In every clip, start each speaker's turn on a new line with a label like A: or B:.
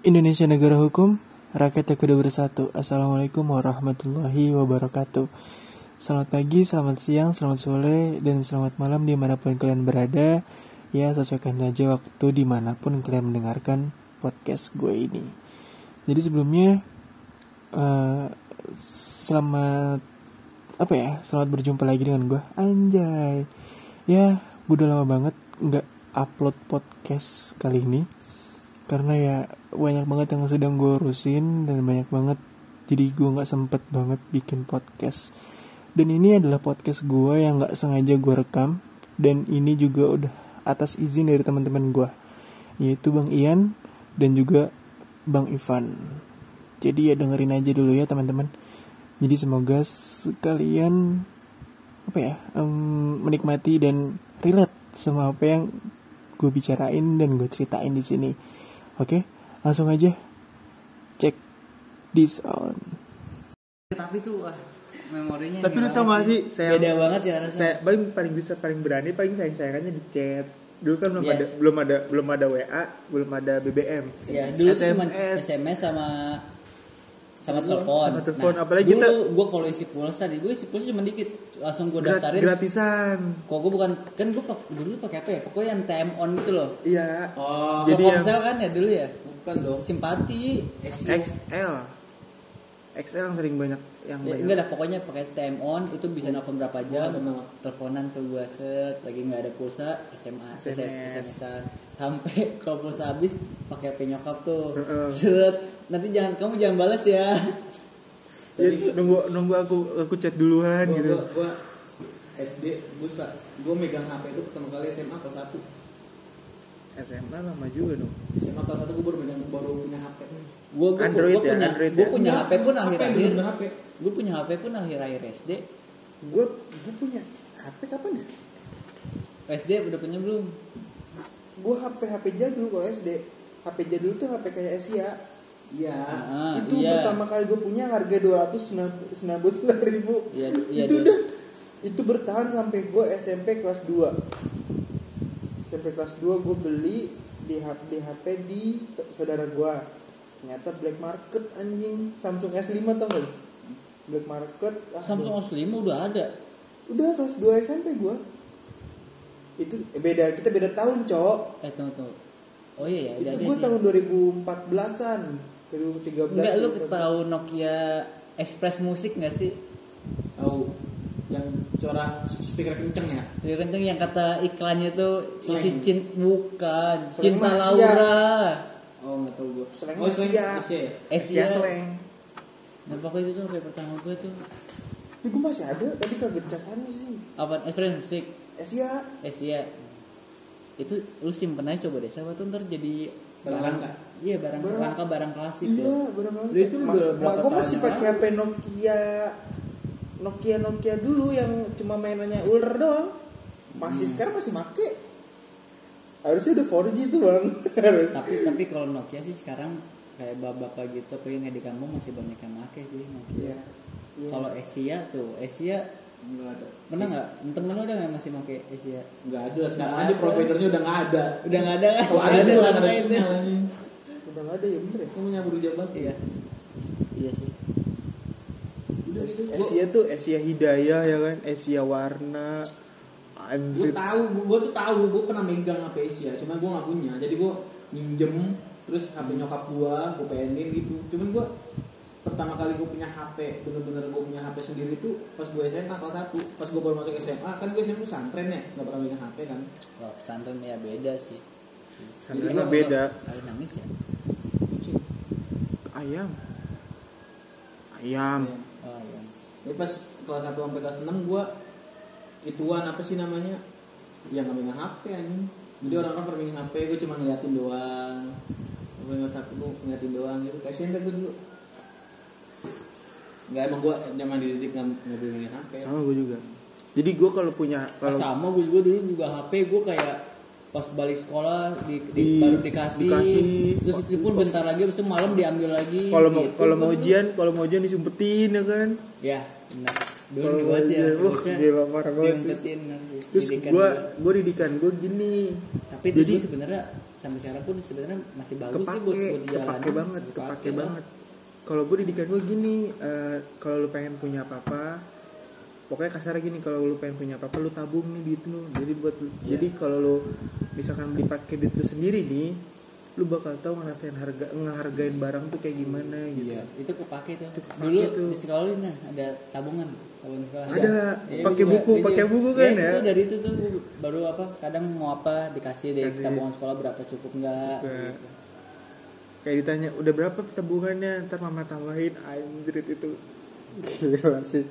A: Indonesia negara hukum, rakyat yang kudu bersatu. Assalamualaikum warahmatullahi wabarakatuh. Selamat pagi, selamat siang, selamat sore, dan selamat malam dimanapun kalian berada. Ya, sesuaikan saja waktu dimanapun kalian mendengarkan podcast gue ini. Jadi sebelumnya, eh, selamat apa ya? Selamat berjumpa lagi dengan gue, Anjay. Ya, gue udah lama banget nggak upload podcast kali ini karena ya banyak banget yang sedang gue urusin dan banyak banget jadi gue nggak sempet banget bikin podcast dan ini adalah podcast gue yang nggak sengaja gue rekam dan ini juga udah atas izin dari teman-teman gue yaitu bang Ian dan juga bang Ivan jadi ya dengerin aja dulu ya teman-teman jadi semoga kalian apa ya em, menikmati dan relate sama apa yang gue bicarain dan gue ceritain di sini Oke, langsung aja cek this on.
B: tapi tuh wah memorinya
A: Tapi lu
B: ini
A: tau
B: banget
A: gak sih, saya
B: Beda banget ya rasanya.
A: Saya paling paling bisa paling berani paling sayang sayangannya di chat. Dulu kan belum
B: Yes.
A: ada belum ada belum ada WA, belum ada BBM.
B: ya dulu tuh cuma
A: SMS.
B: SMS sama sama
A: Sama
B: telepon Nah,
A: sama telepon, apalagi
B: dulu
A: kita-
B: gue kalau isi pulsa nih gue isi pulsa cuma dikit langsung gue
A: Grat-
B: daftarin
A: gratisan.
B: kok gue bukan kan gue pak- dulu pakai apa ya pokoknya yang time on gitu loh
A: Iya.
B: oh
A: Jadi yang-
B: komsel kan ya dulu ya bukan dong simpati
A: XL. XL yang sering banyak yang
B: Ya,
A: banyak.
B: enggak dah pokoknya pakai time on itu bisa
A: Oh.
B: nelfon berapa jam teleponan tuh gua set lagi nggak ada pulsa SMA
A: SMS.
B: SMS sampai kalau pulsa habis pakai HP nyokap tuh
A: Heeh.
B: set nanti jangan kamu jangan balas ya
A: Jadi nunggu nunggu aku aku chat duluan
C: gua,
A: gitu.
C: gua, gua SD busa gua megang HP itu pertama kali SMA kelas 1
A: SMA lama juga dong.
C: SMA kelas 1 gua baru megang baru punya HP
B: gua gua,
A: Android
B: gua
A: ya,
B: punya
A: Android
B: gua
A: ya.
B: punya HP pun
C: Apa yang
B: akhir akhir
C: bener-bener HP
B: gua punya HP pun akhir akhir SD
A: Gue gue punya HP kapan ya?
B: SD udah punya belum
A: Gue HP HP jadul kalau SD. HP jadul tuh HP kayak Asia.
C: iya
B: Ah,
A: itu
B: iya.
A: pertama kali gue punya harga 299 ribu
B: Iya, iya,
A: itu
B: dua-
A: udah itu bertahan sampai gue SMP kelas 2 SMP kelas 2 gue beli di HP, di HP di t- saudara gue ternyata black market anjing Samsung S5 tau gak lu? black market ah,
B: Samsung
A: gua-
B: S5 udah ada
A: udah kelas 2 SMP gue itu eh, beda kita beda tahun cok
B: eh tunggu tunggu oh iya ya
A: itu
B: udah ada
A: gue
B: sih.
A: tahun 2014an 2013
B: enggak lu
A: 2014.
B: tahu Nokia Express Music nggak sih
C: tahu yang suara speaker kenceng ya
B: Dari Renteng yang kata iklannya tuh
C: Sleng.
B: isi cinta bukan
A: Sleng
B: cinta
A: Malaysia.
B: Laura.
C: oh nggak tahu gua
A: Slang
C: oh slang
A: Asia.
C: Asia
B: Asia.
C: ya
A: Sleng.
B: Nah pokoknya itu tuh kayak pertama gue tuh
A: Ini gue masih ada, tadi kagak casan sih.
B: apa Express Musik
A: Asia.
B: Asia. Itu lu simpen aja coba deh siapa tuh ntar jadi
C: Barang langka.
B: Iya barang
A: Barang-
B: langka barang klasik
A: Iya,
B: tuh.
A: benar banget.
B: Lu itu udah berapa
A: gue masih
B: tahun ya? yang
A: pakai HP Nokia Nokia Nokia dulu yang cuma mainannya ular doang. Masih
B: Hmm.
A: sekarang masih make. Harusnya udah 4G tuh, Bang.
B: Tapi tapi kalau Nokia sih sekarang kayak bapak-bapak gitu apa yang di kampung masih banyak yang make sih Nokia.
A: Iya. Iya.
B: Kalau Asia tuh Asia
C: nggak ada
B: pernah nggak temen lu ada nggak masih make Asia?
C: nggak ada lah sekarang
B: Nggak
C: aja
B: ada.
C: providernya udah nggak ada
B: Udah nggak ada kan?
C: kalau ada
B: Nggak
C: juga nggak ada
B: langka itu.
C: sinyal anjing.
A: udah nggak ada ya bener ya.
C: kamu nyambur jabat
B: Iya. Iya sih.
C: udah gitu gua-
A: Asia tuh Asia Hidayah ya kan, Asia Warna.
C: gue
A: Anjir.
C: tahu gue, gue tuh tahu gue pernah megang HP Asia cuman gue nggak punya jadi gue minjem terus HP nyokap gue gue pengenin gitu cuman gue pertama kali gue punya HP bener-bener gue punya HP sendiri tuh pas gue SMA kelas 1 pas gue baru masuk SMA kan gue SMA pesantren ya nggak pernah megang HP kan
B: Kalau pesantren ya beda sih.
C: Jadi
A: Santrinya
C: gua-
A: beda.
B: Kalau nangis ya.
C: kucing
A: Ayam. Ayam.
C: Ya.
B: Oh iya.
C: Tapi pas kelas 1 sampai kelas 6 gua ituan apa sih namanya? Ya nggak megang HP anjing. Jadi orang-orang pada megang HP gua cuma ngeliatin doang. Gua ngeliat HP gua ngeliatin doang gitu. Kasihan deh gua dulu. Enggak emang gua zaman dididik nggak nggak boleh megang HP.
A: Sama gue juga. Jadi gue kalau punya
B: Pas
A: kalau
B: sama gue juga dulu juga HP gue kayak pas balik sekolah di, di-
A: Di-
B: baru dikasih,
A: dikasih.
B: terus itu pun bentar lagi terus malam diambil lagi
A: kalau mau
B: gitu.
A: kalau mau ujian kalau mau ujian disumpetin ya kan
B: ya benar dulu
A: Kalau
B: gue
A: mau
B: ya
A: ujian, wah,
B: sebutnya
A: gila, parah banget sih.
B: diumpetin, kan,
A: terus
B: didikan
A: gue
B: dulu.
A: gue didikan gue gini
B: tapi itu
A: jadi
B: gue sebenarnya sampai sekarang pun sebenarnya masih bagus sih buat,
D: kepake
B: buat di jalanan.
D: kepake banget
B: Kepake ya.
D: kepake
B: lah.
D: banget kalau gue didikan gue gini eh, kalau lu pengen punya apa-apa pokoknya kasar gini kalau lu pengen punya apa-apa lu tabung nih duit lu jadi buat lu-
B: Iya.
D: jadi kalau lu misalkan beli pakai duit lu sendiri nih lu bakal tahu ngerasain harga ngehargain barang tuh kayak gimana gitu
B: Iya, itu kepake tuh.
D: Itu kepake
B: Dulu
D: tuh.
B: di sekolah ini nah, ada tabungan, tabungan sekolah.
D: Ada,
B: Iya,
D: pakai
B: juga.
D: buku,
B: Iya,
D: pakai
B: iya.
D: buku
B: Iya,
D: kan ya?
B: Itu dari itu tuh gua baru apa? Kadang mau apa dikasih deh
D: Kasih.
B: tabungan sekolah berapa cukup enggak.
D: Cukup.
B: gitu.
D: kayak ditanya udah berapa tabungannya ntar mama tambahin anjrit itu gila sih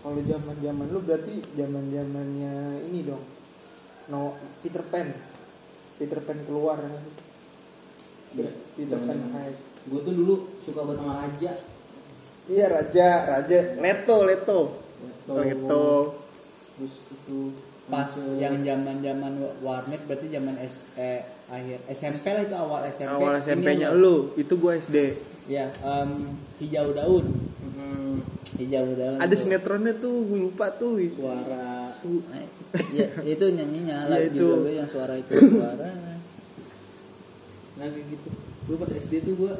D: kalau zaman zaman lu berarti zaman zamannya ini dong no Peter Pan Peter Pan keluar
C: Iya,
D: Peter Pan
C: zaman-zaman.
D: hype.
C: gue tuh dulu suka banget sama raja
D: iya raja raja Leto Leto
C: Leto.
D: Oh, Leto
C: terus itu
B: Pas
C: Raja.
B: yang zaman-zaman wa- warnet berarti zaman S eh, akhir SMP lah itu awal SMP.
D: awal
B: Ini
D: SMP-nya
B: loh.
D: lu itu gua SD
B: Ya, em, hijau daun. Hijau daun.
D: Hmm. ada
B: tuh.
D: sinetronnya tuh gue lupa tuh
C: suara
D: Su-
B: Eh, Ya, itu nyanyinya
D: Iya,
B: lah
D: itu.
B: itu yang suara itu suara.
C: nah kayak gitu dulu pas SD tuh gue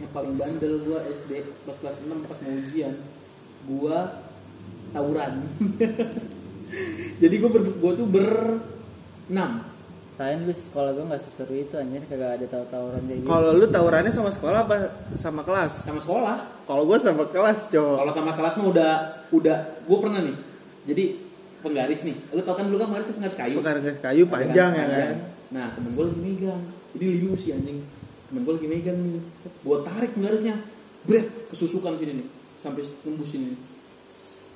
C: yang paling bandel gue SD pas kelas 6 pas mau ujian gue tawuran jadi gue ber gua tuh ber enam
B: Sayang gue sekolah gue gak seseru itu anjir kagak ada tahu-tauran kayak gitu.
D: Kalau lu tawurannya sama sekolah apa sama kelas?
C: sama sekolah
D: Kalau gue sama kelas, cowok.
C: kalau sama kelas mah udah udah gue pernah nih jadi penggaris nih lu tau kan dulu kan penggaris penggaris kayu
D: Bukan garis kayu
C: Ada
D: panjang
C: kan,
D: ya kan?
C: panjang. Nah, temen gue lagi megang. Ini liu sih anjing. Temen gue lagi megang nih. Gue tarik garisnya. Bret, kesusukan sini nih. Sampai tembus sini.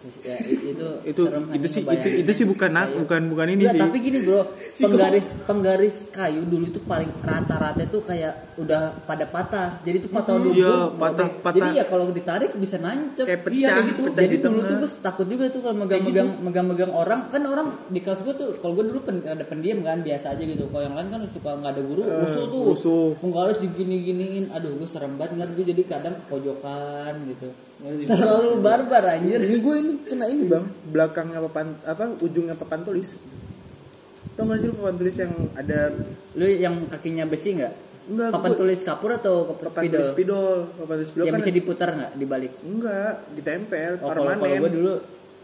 B: Terus, ya, i- itu
D: Itu
B: serem
D: itu
B: anjing
D: sih itu
B: ngebayanginnya.
D: itu sih bukan nak-
B: Kayu.
D: bukan bukan ini
B: Nggak,
D: sih.
B: tapi gini bro, penggaris penggaris kayu dulu itu paling rata-rata itu kayak udah pada patah. Jadi itu patah dulu.
D: Iya, patah-
B: Jadi
D: patah.
B: ya kalau ditarik bisa nancep. Iya,
D: Kayak pecah,
B: gitu.
D: pecah
B: Jadi
D: di
B: dulu
D: tengah. gitu.
B: tuh gue takut juga tuh kalau megang-megang megang-megang orang. Kan orang di kelas gue tuh kalau gue dulu pen- ada pendiam kan biasa aja gitu. Kalau yang lain kan suka nggak ada guru,
D: Eh,
B: rusuh tuh.
D: rusuh.
B: Penggaris digini-giniin. Aduh, gue serem banget ngeliat gue jadi kadang ke pojokan gitu.
C: Nah, di-
B: Terlalu barbar anjir.
D: Ini gue ini kena ini bang, belakangnya papan apa ujungnya papan tulis. Tau gak sih lu papan tulis yang ada
B: Lu yang kakinya besi nggak?
D: Nggak,
B: Papan
D: gua-
B: tulis kapur atau kapur
D: papan
B: spidol?
D: tulis spidol, papan tulis spidol
B: Yang
D: kan?
B: bisa diputar nggak dibalik?
D: Enggak, ditempel
B: Oh, kalau kalau
D: permanen.
B: gue dulu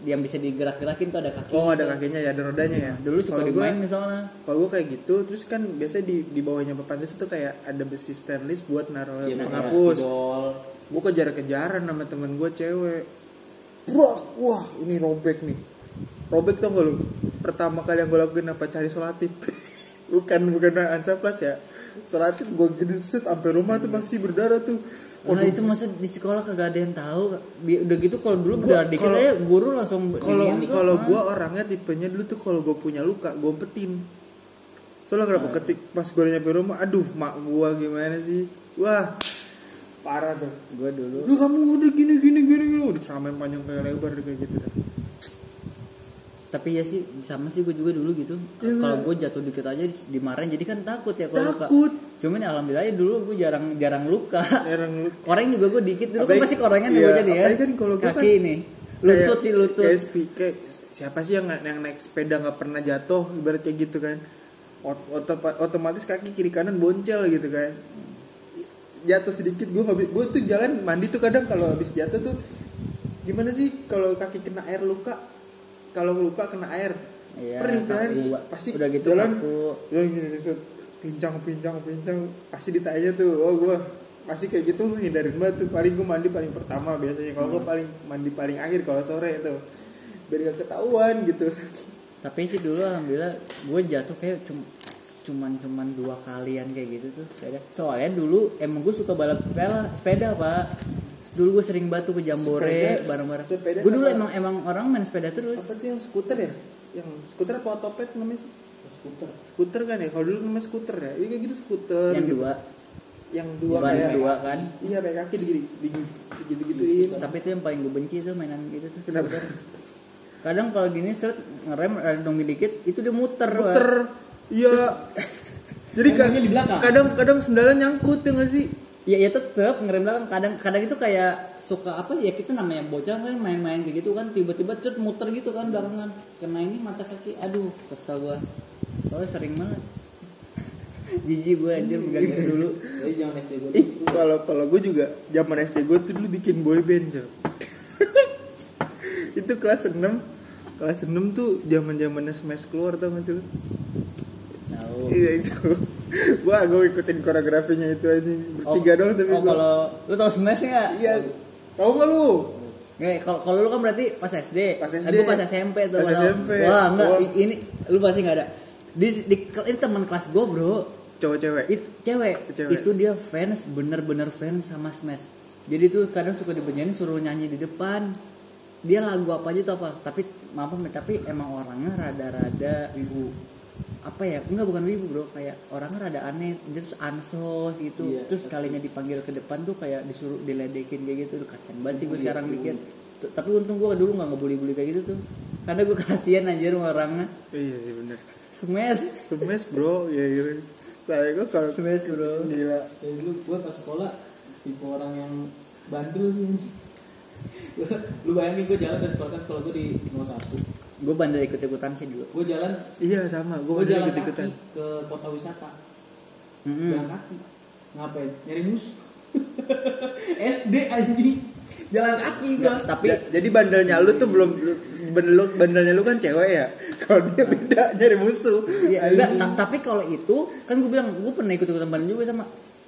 B: yang bisa digerak-gerakin tuh ada kaki.
D: Oh ada kakinya ya, ada rodanya ya.
B: Dulu suka
D: Kalau gua-
B: dimainin soalnya.
D: kalau gue kayak gitu terus kan biasanya di di bawahnya papan tulis itu kayak ada besi stainless buat naruh
C: Iya,
D: penghapus
C: spidol.
D: gue kejar-kejaran sama temen gue cewek Brak, wah ini robek nih robek tau gak lu pertama kali yang gue lakuin apa cari solatif bukan bukan ansap kelas ya solatif gue gedeset sampai rumah tuh masih berdarah tuh
B: Nah, itu masa di sekolah kagak ada yang tahu. Bi- Udah gitu kalau dulu
D: Gua-
B: udah dikit
D: kalau-
B: aja guru langsung
D: kalau
C: Iya,
B: iniin,
D: kalau
B: "Ah,
D: gue orangnya tipenya dulu tuh kalau gue punya luka gue umpetin soalnya kenapa ketik pas gue nyampe rumah aduh mak gue gimana sih wah parah tuh
B: gue dulu
D: lu kamu udah gini gini gini gini udah ceramain panjang kayak lebar deh, kayak gitu dah.
B: tapi ya sih sama sih gue juga dulu gitu kalau gue jatuh dikit aja dimarahin jadi kan takut ya kalau luka
D: takut
B: cuman ya alhamdulillah ya dulu gue jarang jarang luka
D: orang lu
B: koreng juga gue dikit dulu
D: Apalagi-
B: kan pasti korengan
D: iya,
B: gue jadi ya
D: apalagi kan kalau gua
B: kaki
D: kan
B: ini lutut
D: kayak-
B: sih lutut
D: kayak, spi- kayak siapa sih yang yang naik sepeda nggak pernah jatuh ibarat kayak gitu kan Ot- otom- otomatis kaki kiri kanan boncel gitu kan jatuh sedikit gue habis gue tuh jalan mandi tuh kadang kalau habis jatuh tuh gimana sih kalau kaki kena air luka kalau luka kena air
B: Iya,
D: perih kan
B: tapi
D: pasti
B: udah gitu
D: jalan
B: kaku.
D: jalan Ya, gini gini, set. pincang pincang pincang pasti ditanya tuh oh gue pasti kayak gitu hindarin banget tuh paling gue mandi paling pertama biasanya kalau gue paling mandi paling akhir kalau sore itu biar gak ketahuan gitu
B: tapi sih dulu alhamdulillah gue jatuh kayak cum- cuman cuman dua kalian kayak gitu tuh sepeda. soalnya dulu emang gue suka balap sepeda sepeda pak dulu gue sering batu ke jambore
D: Sepeda-
B: bareng-bareng
D: sepeda
B: gue dulu
D: sama-
B: emang emang orang main sepeda terus
D: apa tuh yang skuter ya yang skuter apa otopet namanya sih?
C: Skuter.
D: Oh, skuter kan ya kalau dulu namanya skuter ya iya kayak gitu skuter
B: yang
D: gitu.
B: dua
D: yang dua
B: Yang
D: kayak
B: dua kan
D: iya pakai kaki digini digini gituin
B: tapi itu yang paling gue benci tuh mainan gitu tuh
D: kenapa
B: kadang kalau gini seret ngerem dong dikit itu dia muter Pak.
D: skuter iya jadi kan
C: Mainannya di belakang.
D: kadang kadang sendalnya nyangkut ya nggak sih
B: ya ya tetep ngerem belakang kadang kadang itu kayak suka apa ya kita namanya bocah kan main-main kayak gitu kan tiba-tiba cut muter gitu kan belakangan kena ini mata kaki aduh kesel gua soalnya sering banget jijik gue anjir pegang itu dulu
C: Jadi jangan SD gue
D: Ih, kalau kalau gue juga zaman SD gue tuh dulu bikin boy band, Cok. itu kelas 6 kelas 6 tuh zaman zamannya smash keluar tau gak sih lu?
B: tahu
D: Iya itu. Wah, gue ikutin koreografinya itu aja. Bertiga doang tapi
B: oh
D: gua-
B: kalau lu tau smash nggak
D: Iya. Tahu gak lu?
B: Nggak, kalau kalau lu kan berarti pas SD.
D: Pas SD.
B: Nah, gua pas SMP tuh.
D: Pas
B: kalau-
D: SMP.
B: Wah, enggak
D: Wah.
B: i- ini lu pasti enggak ada. Di, di ini teman kelas gue, Bro.
D: Cowok cewek.
B: Itu cewek.
D: Cewek.
B: Itu dia fans bener-bener fans sama Smash. Jadi tuh kadang suka dibenjain suruh nyanyi di depan. Dia lagu apa aja tuh apa? Tapi maaf Mbak, tapi emang orangnya rada-rada ibu apa ya enggak bukan wibu bro kayak orangnya rada aneh dia terus ansos gitu
C: Iya.
B: terus kalinya dipanggil ke depan tuh kayak disuruh diledekin kayak gitu tuh kasihan banget sih gue
C: Iya,
B: sekarang
C: iya.
B: mikir T- tapi untung gue dulu nggak ngebully-bully kayak gitu tuh karena gue kasihan anjir sama orangnya
D: Iya sih bener.
B: smash
D: Smash bro, ya gitu. Tapi gue kalau
B: smash bro
D: gila.
C: Dari dulu gue pas sekolah tipe orang yang bandel sih. Gua- lu bayangin gue jalan dari sekolah kan kalau gue di nomor satu.
B: gue bandel ikut-ikutan sih dulu
C: Gue jalan,
D: Iya sama, gue
C: gue
D: udah
C: jalan
D: ikut ikutan.
C: kaki ke kota wisata.
D: Hmm.
B: Mm-mm.
C: Jalan kaki. Ngapain? Nyari mus. SD anjing. Jalan kaki gue.
B: Nggak, tapi
D: Ja- jadi bandelnya lu tuh belum bandel lu, bandelnya lu kan cewek ya. Kalau dia beda nyari musuh.
B: Iya, enggak, ta- tapi kalau itu kan gue bilang gue pernah ikut ikutan juga sama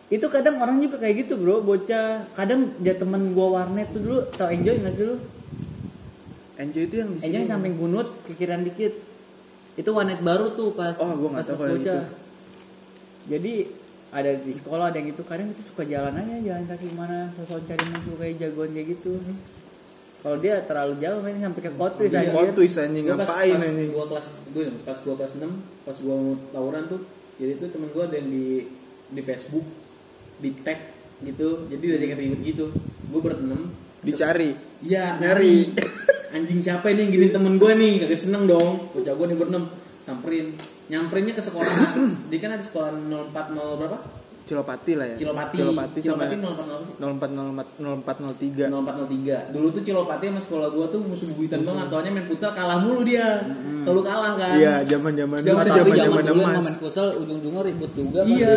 B: itu kadang orang juga kayak gitu bro bocah kadang dia temen gue warnet tuh dulu tau enjoy nggak sih lu
D: Enjoy itu yang di sini.
B: enjoy samping gunut kekiran dikit itu warnet baru tuh pas
D: Oh, gua nggak
B: pas,
D: tahu
B: pas
D: kalau yang
B: bocah
D: itu.
B: jadi ada di sekolah ada yang itu kadang itu suka jalan aja jalan kaki mana sosok cari musuh kayak jagoan kayak gitu kalau dia terlalu jauh main sampai Iya, ke kotwis
D: Di
B: aja
D: Kontwis anjing
C: Gua pas-
D: ngapain
C: pas
D: anjing.
C: gua kelas gue pas gua kelas 6 pas gua mau tawuran tuh jadi tuh temen gua ada yang di di Facebook di tag gitu jadi udah jadi ribet gitu gua berenam terus-
D: Dicari.
C: iya
D: Nyari.
C: nyari anjing siapa ini yang gini temen gua nih kagak seneng dong bocah gua nih berenam samperin nyamperinnya ke sekolah dia kan ada sekolah 04 berapa
D: Cilopati lah ya.
C: Cilopati.
D: Cilopati sama ya?
C: Cilopati 04 sih?
D: 04 04
C: 0403
D: 04 03.
C: dulu tuh Cilopati sama sekolah gua tuh musuh bubuyutan banget soalnya main futsal kalah mulu dia selalu kalah kan
D: Iya, zaman-zaman dulu
C: Zaman-
D: tuh
C: tapi
D: zaman-zaman
B: dulu yang
D: emas.
B: main futsal ujung-ujungnya ribut juga kan.
C: Iya,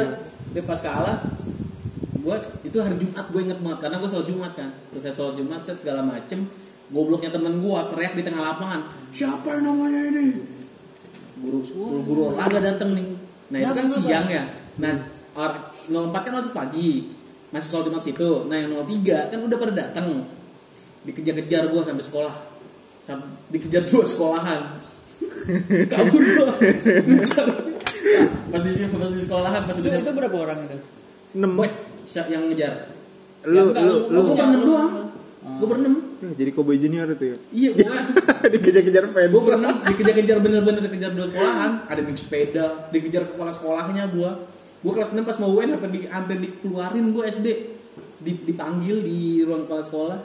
C: dia pas kalah gue itu hari Jumat gue inget banget karena gue sholat Jumat kan terus saya sholat Jumat set segala macem gobloknya temen gue teriak di tengah lapangan siapa namanya ini guru guru, guru olahraga Hmm. dateng nih nah itu kan siang ya nah or, 04 kan masuk pagi masih sholat Jumat situ nah yang 03 kan udah pada datang dikejar-kejar gue sampai sekolah Sam- dikejar dua sekolahan kabur gue pas di pas di sekolahan pas
B: itu,
C: di
B: itu berapa orang itu
D: 6.
C: Boy, siap yang ngejar.
D: Lu
B: enggak,
D: lu
B: lu-
D: lu.
C: Gue berenam doang. Gue berenam.
D: Nah, Jadi cowboy junior itu ya.
C: Iya, gue
D: Dikejar-kejar fans.
C: gue berenam dikejar-kejar bener-bener dikejar dua sekolahan. Ada yang naik sepeda, dikejar kepala sekolahnya gue. Gue kelas 6 pas mau UN hampir, di, hampir dikeluarin gue SD. Di- dipanggil di ruang kepala sekolah.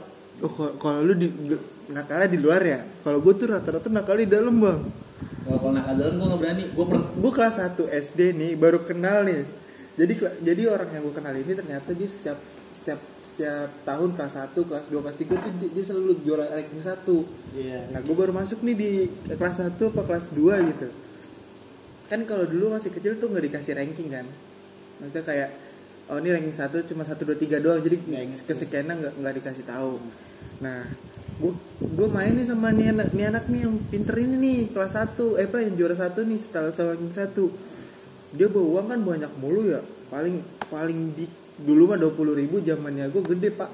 D: Oh, kalau- kalau lu di di- nakalnya di luar ya. Kalau gue tuh rata-rata nakalnya di dalam, Bang.
C: Kalau kalau nakal jalan gue nggak berani. Gue per
D: Gue kelas 1 SD nih, baru kenal nih. Jadi kela- jadi orang yang gue kenal ini ternyata dia setiap setiap setiap tahun kelas 1, kelas 2, kelas 3 tuh dia, dia selalu juara ranking 1.
B: Iya.
D: Nah, gue baru masuk nih di kelas 1 apa kelas 2 gitu. Kan kalau dulu masih kecil tuh nggak dikasih ranking kan. Maksudnya kayak oh ini ranking 1 cuma 1 2 3 doang. Jadi
B: Nggak inget Iya, tuh.
D: kesekiannya nggak nggak dikasih tahu. Nah, gue gue main nih sama nih anak nih anak nih yang pinter ini nih kelas 1 eh apa yang juara satu nih setelah sama ranking 1. Dia bawa uang kan banyak mulu ya. Paling paling di dulu mah 20.000 ribu zamannya gue gede, Pak.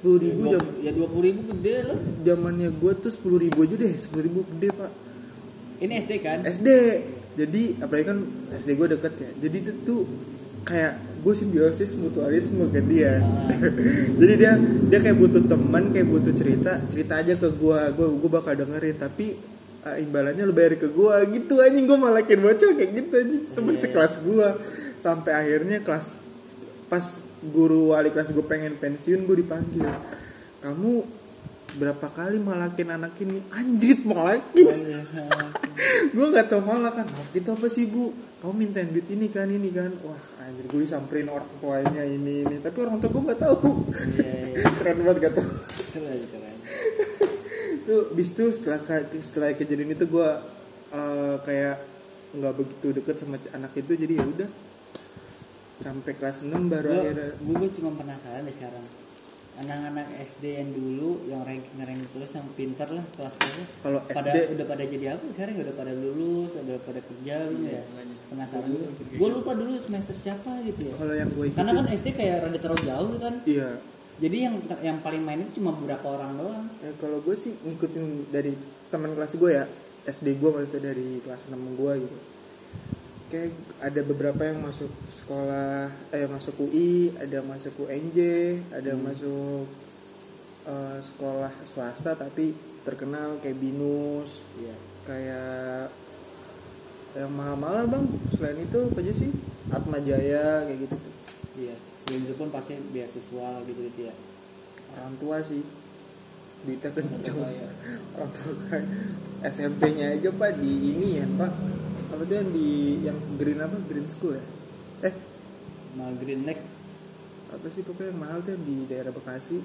D: 10.000 ribu
B: Dua-
D: zaman
B: ya dua puluh ribu gede loh
D: zamannya gue tuh sepuluh ribu aja deh sepuluh ribu gede pak
B: ini SD kan
D: SD jadi apalagi kan SD gue deket ya jadi itu tuh kayak gue simbiosis mutualisme ke dia jadi dia dia kayak butuh teman kayak butuh cerita cerita aja ke gue gue gue bakal dengerin tapi uh, imbalannya lu bayar ke gue gitu anjing gue malakin bocah kayak gitu anjing temen sekelas gue sampai akhirnya kelas pas guru wali kelas gue pengen pensiun gue dipanggil kamu berapa kali malakin anak ini anjrit malakin gue nggak tau malah kan "Hah, itu apa sih bu kamu mintain duit ini kan ini kan wah anjir gue disamperin orang tuanya ini ini tapi orang tua gue nggak tahu keren banget gak tau
B: keren keren
D: itu bis itu setelah ke- setelah kejadian itu gue eh, kayak nggak begitu deket sama c- anak itu jadi ya udah sampai kelas 6 baru
B: gue
D: akhirnya
B: gue cuma penasaran deh sekarang anak-anak SD yang dulu yang ranking ranking terus yang pintar lah kelas kelasnya
D: kalau
B: pada
D: SD
B: udah pada jadi apa sekarang ya? udah pada lulus udah pada kerja belum ya
C: makanya.
B: penasaran
C: Dulu
B: gue
C: makin
B: gue lupa dulu semester siapa gitu ya
D: kalau yang gue
B: karena
D: ikutin
B: kan SD kayak rada terlalu jauh kan
D: iya
B: jadi yang yang paling main itu cuma beberapa orang doang
D: Eh, kalau gue sih ngikutin dari teman kelas gue ya SD gue maksudnya dari kelas 6 gue gitu kayak ada beberapa yang masuk sekolah eh masuk UI ada yang masuk UNJ ada yang masuk eh, sekolah swasta tapi terkenal kayak binus
B: iya
D: kayak yang mahal-mahal bang selain itu apa aja sih Atma Jaya kayak gitu tuh.
B: iya dan itu pun pasti beasiswa gitu gitu ya
D: orang tua sih duitnya kenceng
C: Kaya.
D: orang tua kan SMP-nya aja pak di ini ya pak apa tuh yang di yang green apa green school ya eh
B: nah Green Lake
D: apa sih pokoknya yang mahal tuh yang di daerah Bekasi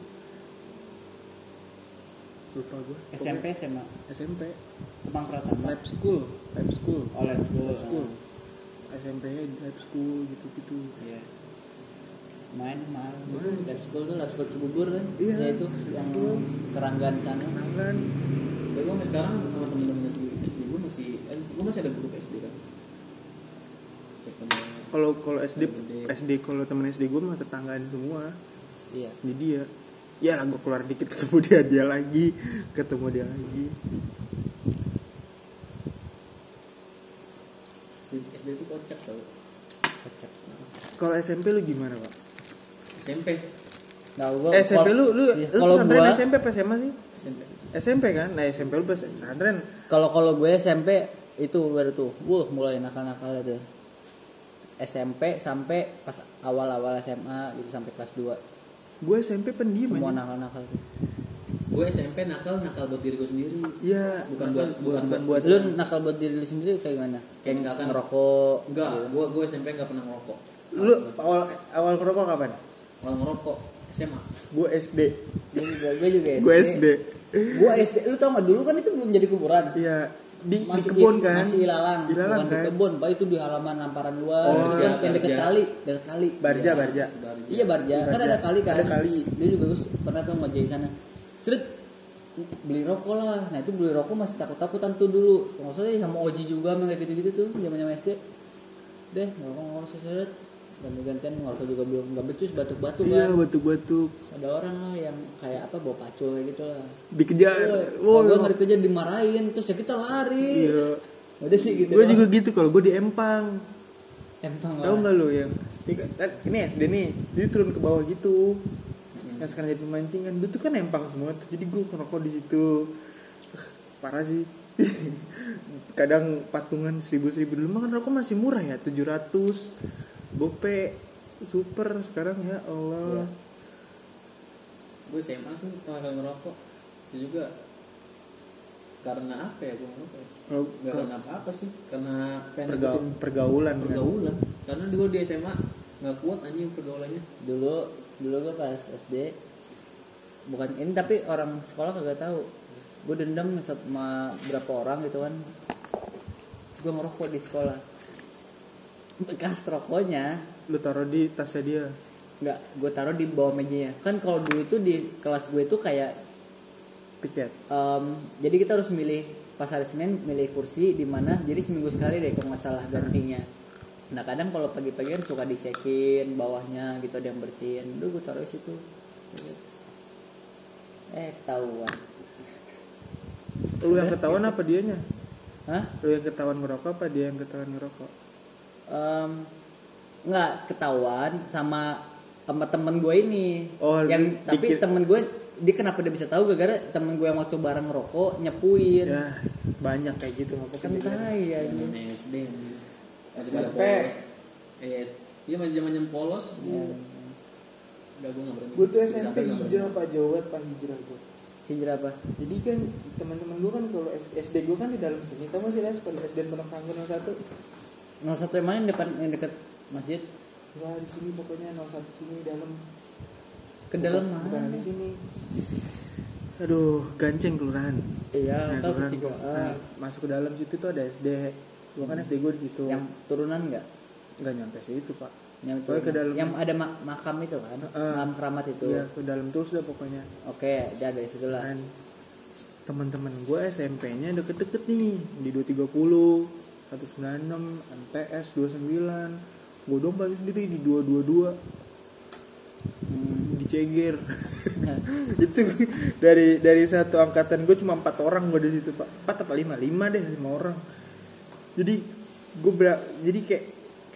D: lupa gue
B: SMP SMA
D: SMP
B: Kemang Pratama
D: lab school lab school
B: oh Lab School,
D: lab school
B: Ah,
D: SMP-nya di lab school gitu-gitu
B: iya main mahal
D: Main.
B: Lab School tuh Lab School Cibubur kan
D: Iya.
B: ya itu yang keranggan sana
D: kan
C: Ya gue sampai sekarang sama temen-temen masih SD gue masih eh, gue masih ada grup SD kan. Kayak temen-
D: kalau kalau SD
C: Gede.
D: SD kalau temen SD gue mah tetanggaan semua
B: iya
D: jadi ya ya lah gue keluar dikit ketemu dia dia lagi ketemu dia lagi
C: grup SD itu kocak tau.
B: kocak
D: kalau SMP lu gimana pak
C: SMP,
B: nah gua
D: Eh, SMP
B: kalau-
D: lu lu
B: iya,
D: lu
B: kalau
D: pesantren
B: gua
D: SMP apa SMA sih
C: SMP.
D: SMP kan nah SMP lu pas pesantren
B: kalau kalau gue SMP itu baru tuh wuh mulai nakal-nakal itu SMP sampai pas awal-awal SMA gitu sampai kelas 2
D: gue SMP pendiam
B: semua
D: aja
B: nakal-nakal tuh
C: Gue SMP nakal nakal buat diri gue sendiri.
D: Iya,
C: Bukan buat- bukan buat-
D: buat
B: lu nakal buat diri lu sendiri kayak gimana kayak
C: Misalkan-
B: ngerokok gitu.
C: Enggak, gue gue SMP nggak pernah ngerokok.
D: lu awal awal ngerokok kapan
C: Kalau ngerokok SMA.
D: gue SD
B: gue juga gue juga SD
D: gue SD
B: gue SD lu tau gak dulu kan itu belum jadi kuburan
D: iya di, di
B: masih
D: kebun kan
B: masih ilalang,
D: Ilalang
B: bukan
D: kan?
B: di kebun pak itu di halaman lamparan luar
D: Oh,
B: Itu
D: iya,
B: kan yang deket
C: Barja.
B: kali deket kali
D: barja
C: Iya,
D: barja
C: masih Barja.
B: Iya Barja, kan
D: Barja.
B: ada kali kan.
D: Ada kali.
B: Dia juga gue pernah tuh ngajak di sana. Seret beli rokok lah. Nah itu beli rokok masih takut-takutan tuh dulu. Nggak usah deh sama Oji juga emang kayak gitu-gitu tuh zaman zaman SD. Deh ngerokok ngerokok seret. Dan gantian ngerokok juga belum nggak becus batuk-batuk
D: iya
B: kan.
D: batuk batuk
B: Ada orang lah yang kayak apa bawa pacul kayak gitu lah.
D: dikejar
B: Woi, gue
D: Woi,
B: nggak dikejar dimarahin, terus ya kita lari.
D: Iya.
B: Udah sih gitu.
D: Gue
B: doang. Ya,
D: juga gitu kalau gue di Empang.
B: Empang
D: Tahu
B: banget.
D: nggak lu yang ini kan- ini SD nih, dia turun ke bawah gitu.
B: Hmm.
D: Yang sekarang jadi pemancing kan, itu kan empang semua tuh. Jadi gue ngerokok di situ. Parah sih. Kadang patungan seribu seribu dulu mah kan rokok masih murah ya, 700 bope super sekarang ya
B: Iya.
D: Allah.
C: Gue SMA sih pertama kali ngerokok. Itu juga karena apa ya gue ngerokok? ya?
D: Kalau
C: Nggak
D: kalau
C: karena apa-apa sih, karena pengen
D: Oh, pergau-
C: ikutin
D: pergaulan, kan.
C: pergaulan. Karena gue di SMA nggak kuat anjing pergaulannya.
B: dulu dulu gue pas SD bukan ini tapi orang sekolah kagak tahu gue dendam sama berapa orang gitu kan Terus gue ngerokok di sekolah bekas rokoknya
D: lu taruh di tasnya dia.
B: nggak gue taruh di bawah mejanya kan kalau dulu tuh di kelas gue tuh kayak
D: Picet.
B: em, jadi kita harus milih pas hari Senin milih kursi di mana jadi seminggu sekali deh kalau nggak salah gantinya nah kadang kalau pagi-pagi kan suka dicekin bawahnya gitu ada yang bersihin dulu gue taruh di situ eh ketahuan
D: Lu yang
B: Iya.
D: ketahuan apa dianya?
B: hah
D: Lu yang ketahuan ngerokok apa dia yang ketahuan ngerokok?
B: Em, nggak ketahuan sama sama temen gue ini
D: Oh,
B: yang
D: lu
B: tapi
D: dikir-
B: temen gue dia kenapa dia bisa tahu gara-gara temen gue yang waktu bareng rokok nyepuin
D: Ya, banyak kayak gitu nggak
B: Iya. kan tai anjing.
C: Zaman SD anjing. Masih
D: Iya, SMP.
C: pada polos. Iya, iya masih zaman yang polos.
B: Ya.
C: Enggak gue nggak berani.
D: Gue tuh
C: Sampai
D: SMP
C: nggak berani.
D: hijrah pak Jawa Barat, pak hijrah gue.
B: hijrah apa
D: Jadi kan teman-teman gue kan kalau S- SD gue kan di dalam sini, tau gak sih Les pada SD Pondok Ranggon yang satu?
B: 01 yang mana yang depan yang deket masjid
D: Wah di sini pokoknya 01 sini dalam.
B: ke dalam
D: Bukan-
B: mana?
D: Bukan di sini. Aduh, ganceng kelurahan.
B: Iya,
D: Nah,
B: tahu
D: kelurahan.
B: Iya, tiga. eh,
D: Nah, masuk ke dalam situ tuh ada SD. Gua kan SD gue di situ.
B: yang turunan nggak
D: Nggak nyampe sih itu pak.
B: yang,
D: Pokoknya ke dalam.
B: yang ada ma- makam itu kan
D: Heeh.
B: makam keramat itu
D: Iya ke dalam terus dah pokoknya.
B: oke dia dari situ lah
D: Dan teman-teman gue SMP-nya deket-deket nih di 230, 196, MTS 29. Gue dong paling sendiri di 222
B: Hmm.
D: diceger Nah. itu dari dari satu angkatan gue cuma empat orang gue di situ pak empat apa lima lima deh lima orang jadi gue ber jadi kayak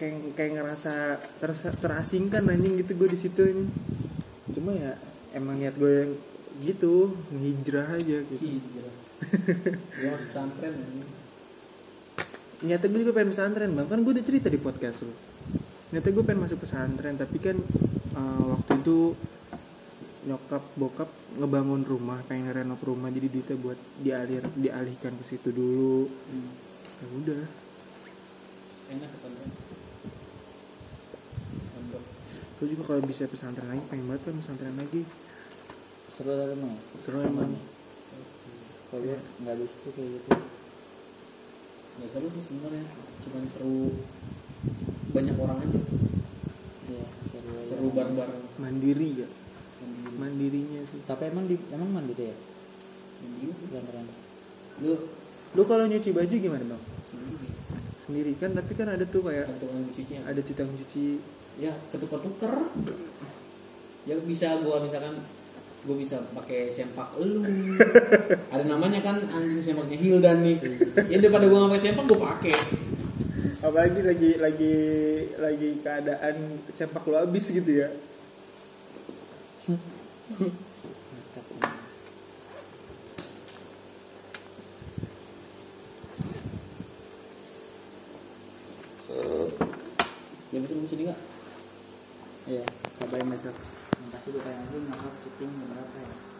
D: kayak kayak ngerasa tersa- terasingkan anjing gitu gue di situ ini cuma ya emang niat gue yang gitu ngehijrah aja gitu
C: Hijrah. Gue Iya, masuk pesantren ya. ini.
D: niatnya gue juga pengen pesantren bang kan gue udah cerita di podcast lu niatnya gue pengen masuk pesantren tapi kan eh, waktu itu nyokap bokap ngebangun rumah pengen renov rumah jadi duitnya buat dialir dialihkan ke situ dulu ya udah
C: Enak pesantren. Pondok.
D: gue juga kalau bisa pesantren lagi pengen banget pengen pesantren lagi
B: seru tapi emang ya?
D: seru emang
B: kalau
D: Iya.
B: gue nggak bisa sih kayak gitu
C: Gak seru sih sebenarnya. Cuman seru banyak orang aja.
B: iya seru
C: Seru bareng-bareng.
D: mandiri ya
C: Mandiri.
D: mandirinya sih
B: tapi emang di emang mandiri ya
C: Mandiri.
B: pesantren
C: Lu ya.
D: lu kalau nyuci baju gimana bang
C: sendiri.
D: sendiri kan tapi kan ada tuh kayak
C: Ada tukang cucinya.
D: ada cita cuci
C: ya ketuker-tuker ya bisa gua misalkan gua bisa pakai sempak elu ada namanya kan anjing sempaknya Hildan nih ya daripada gua nggak pakai sempak gua pakai
D: apalagi lagi lagi lagi keadaan sepak lo habis gitu ya
C: ya bisa gua sedih nggak
B: Iya, kabarin besok. Makasih gue pengen lagi nangkap syuting berapa ya?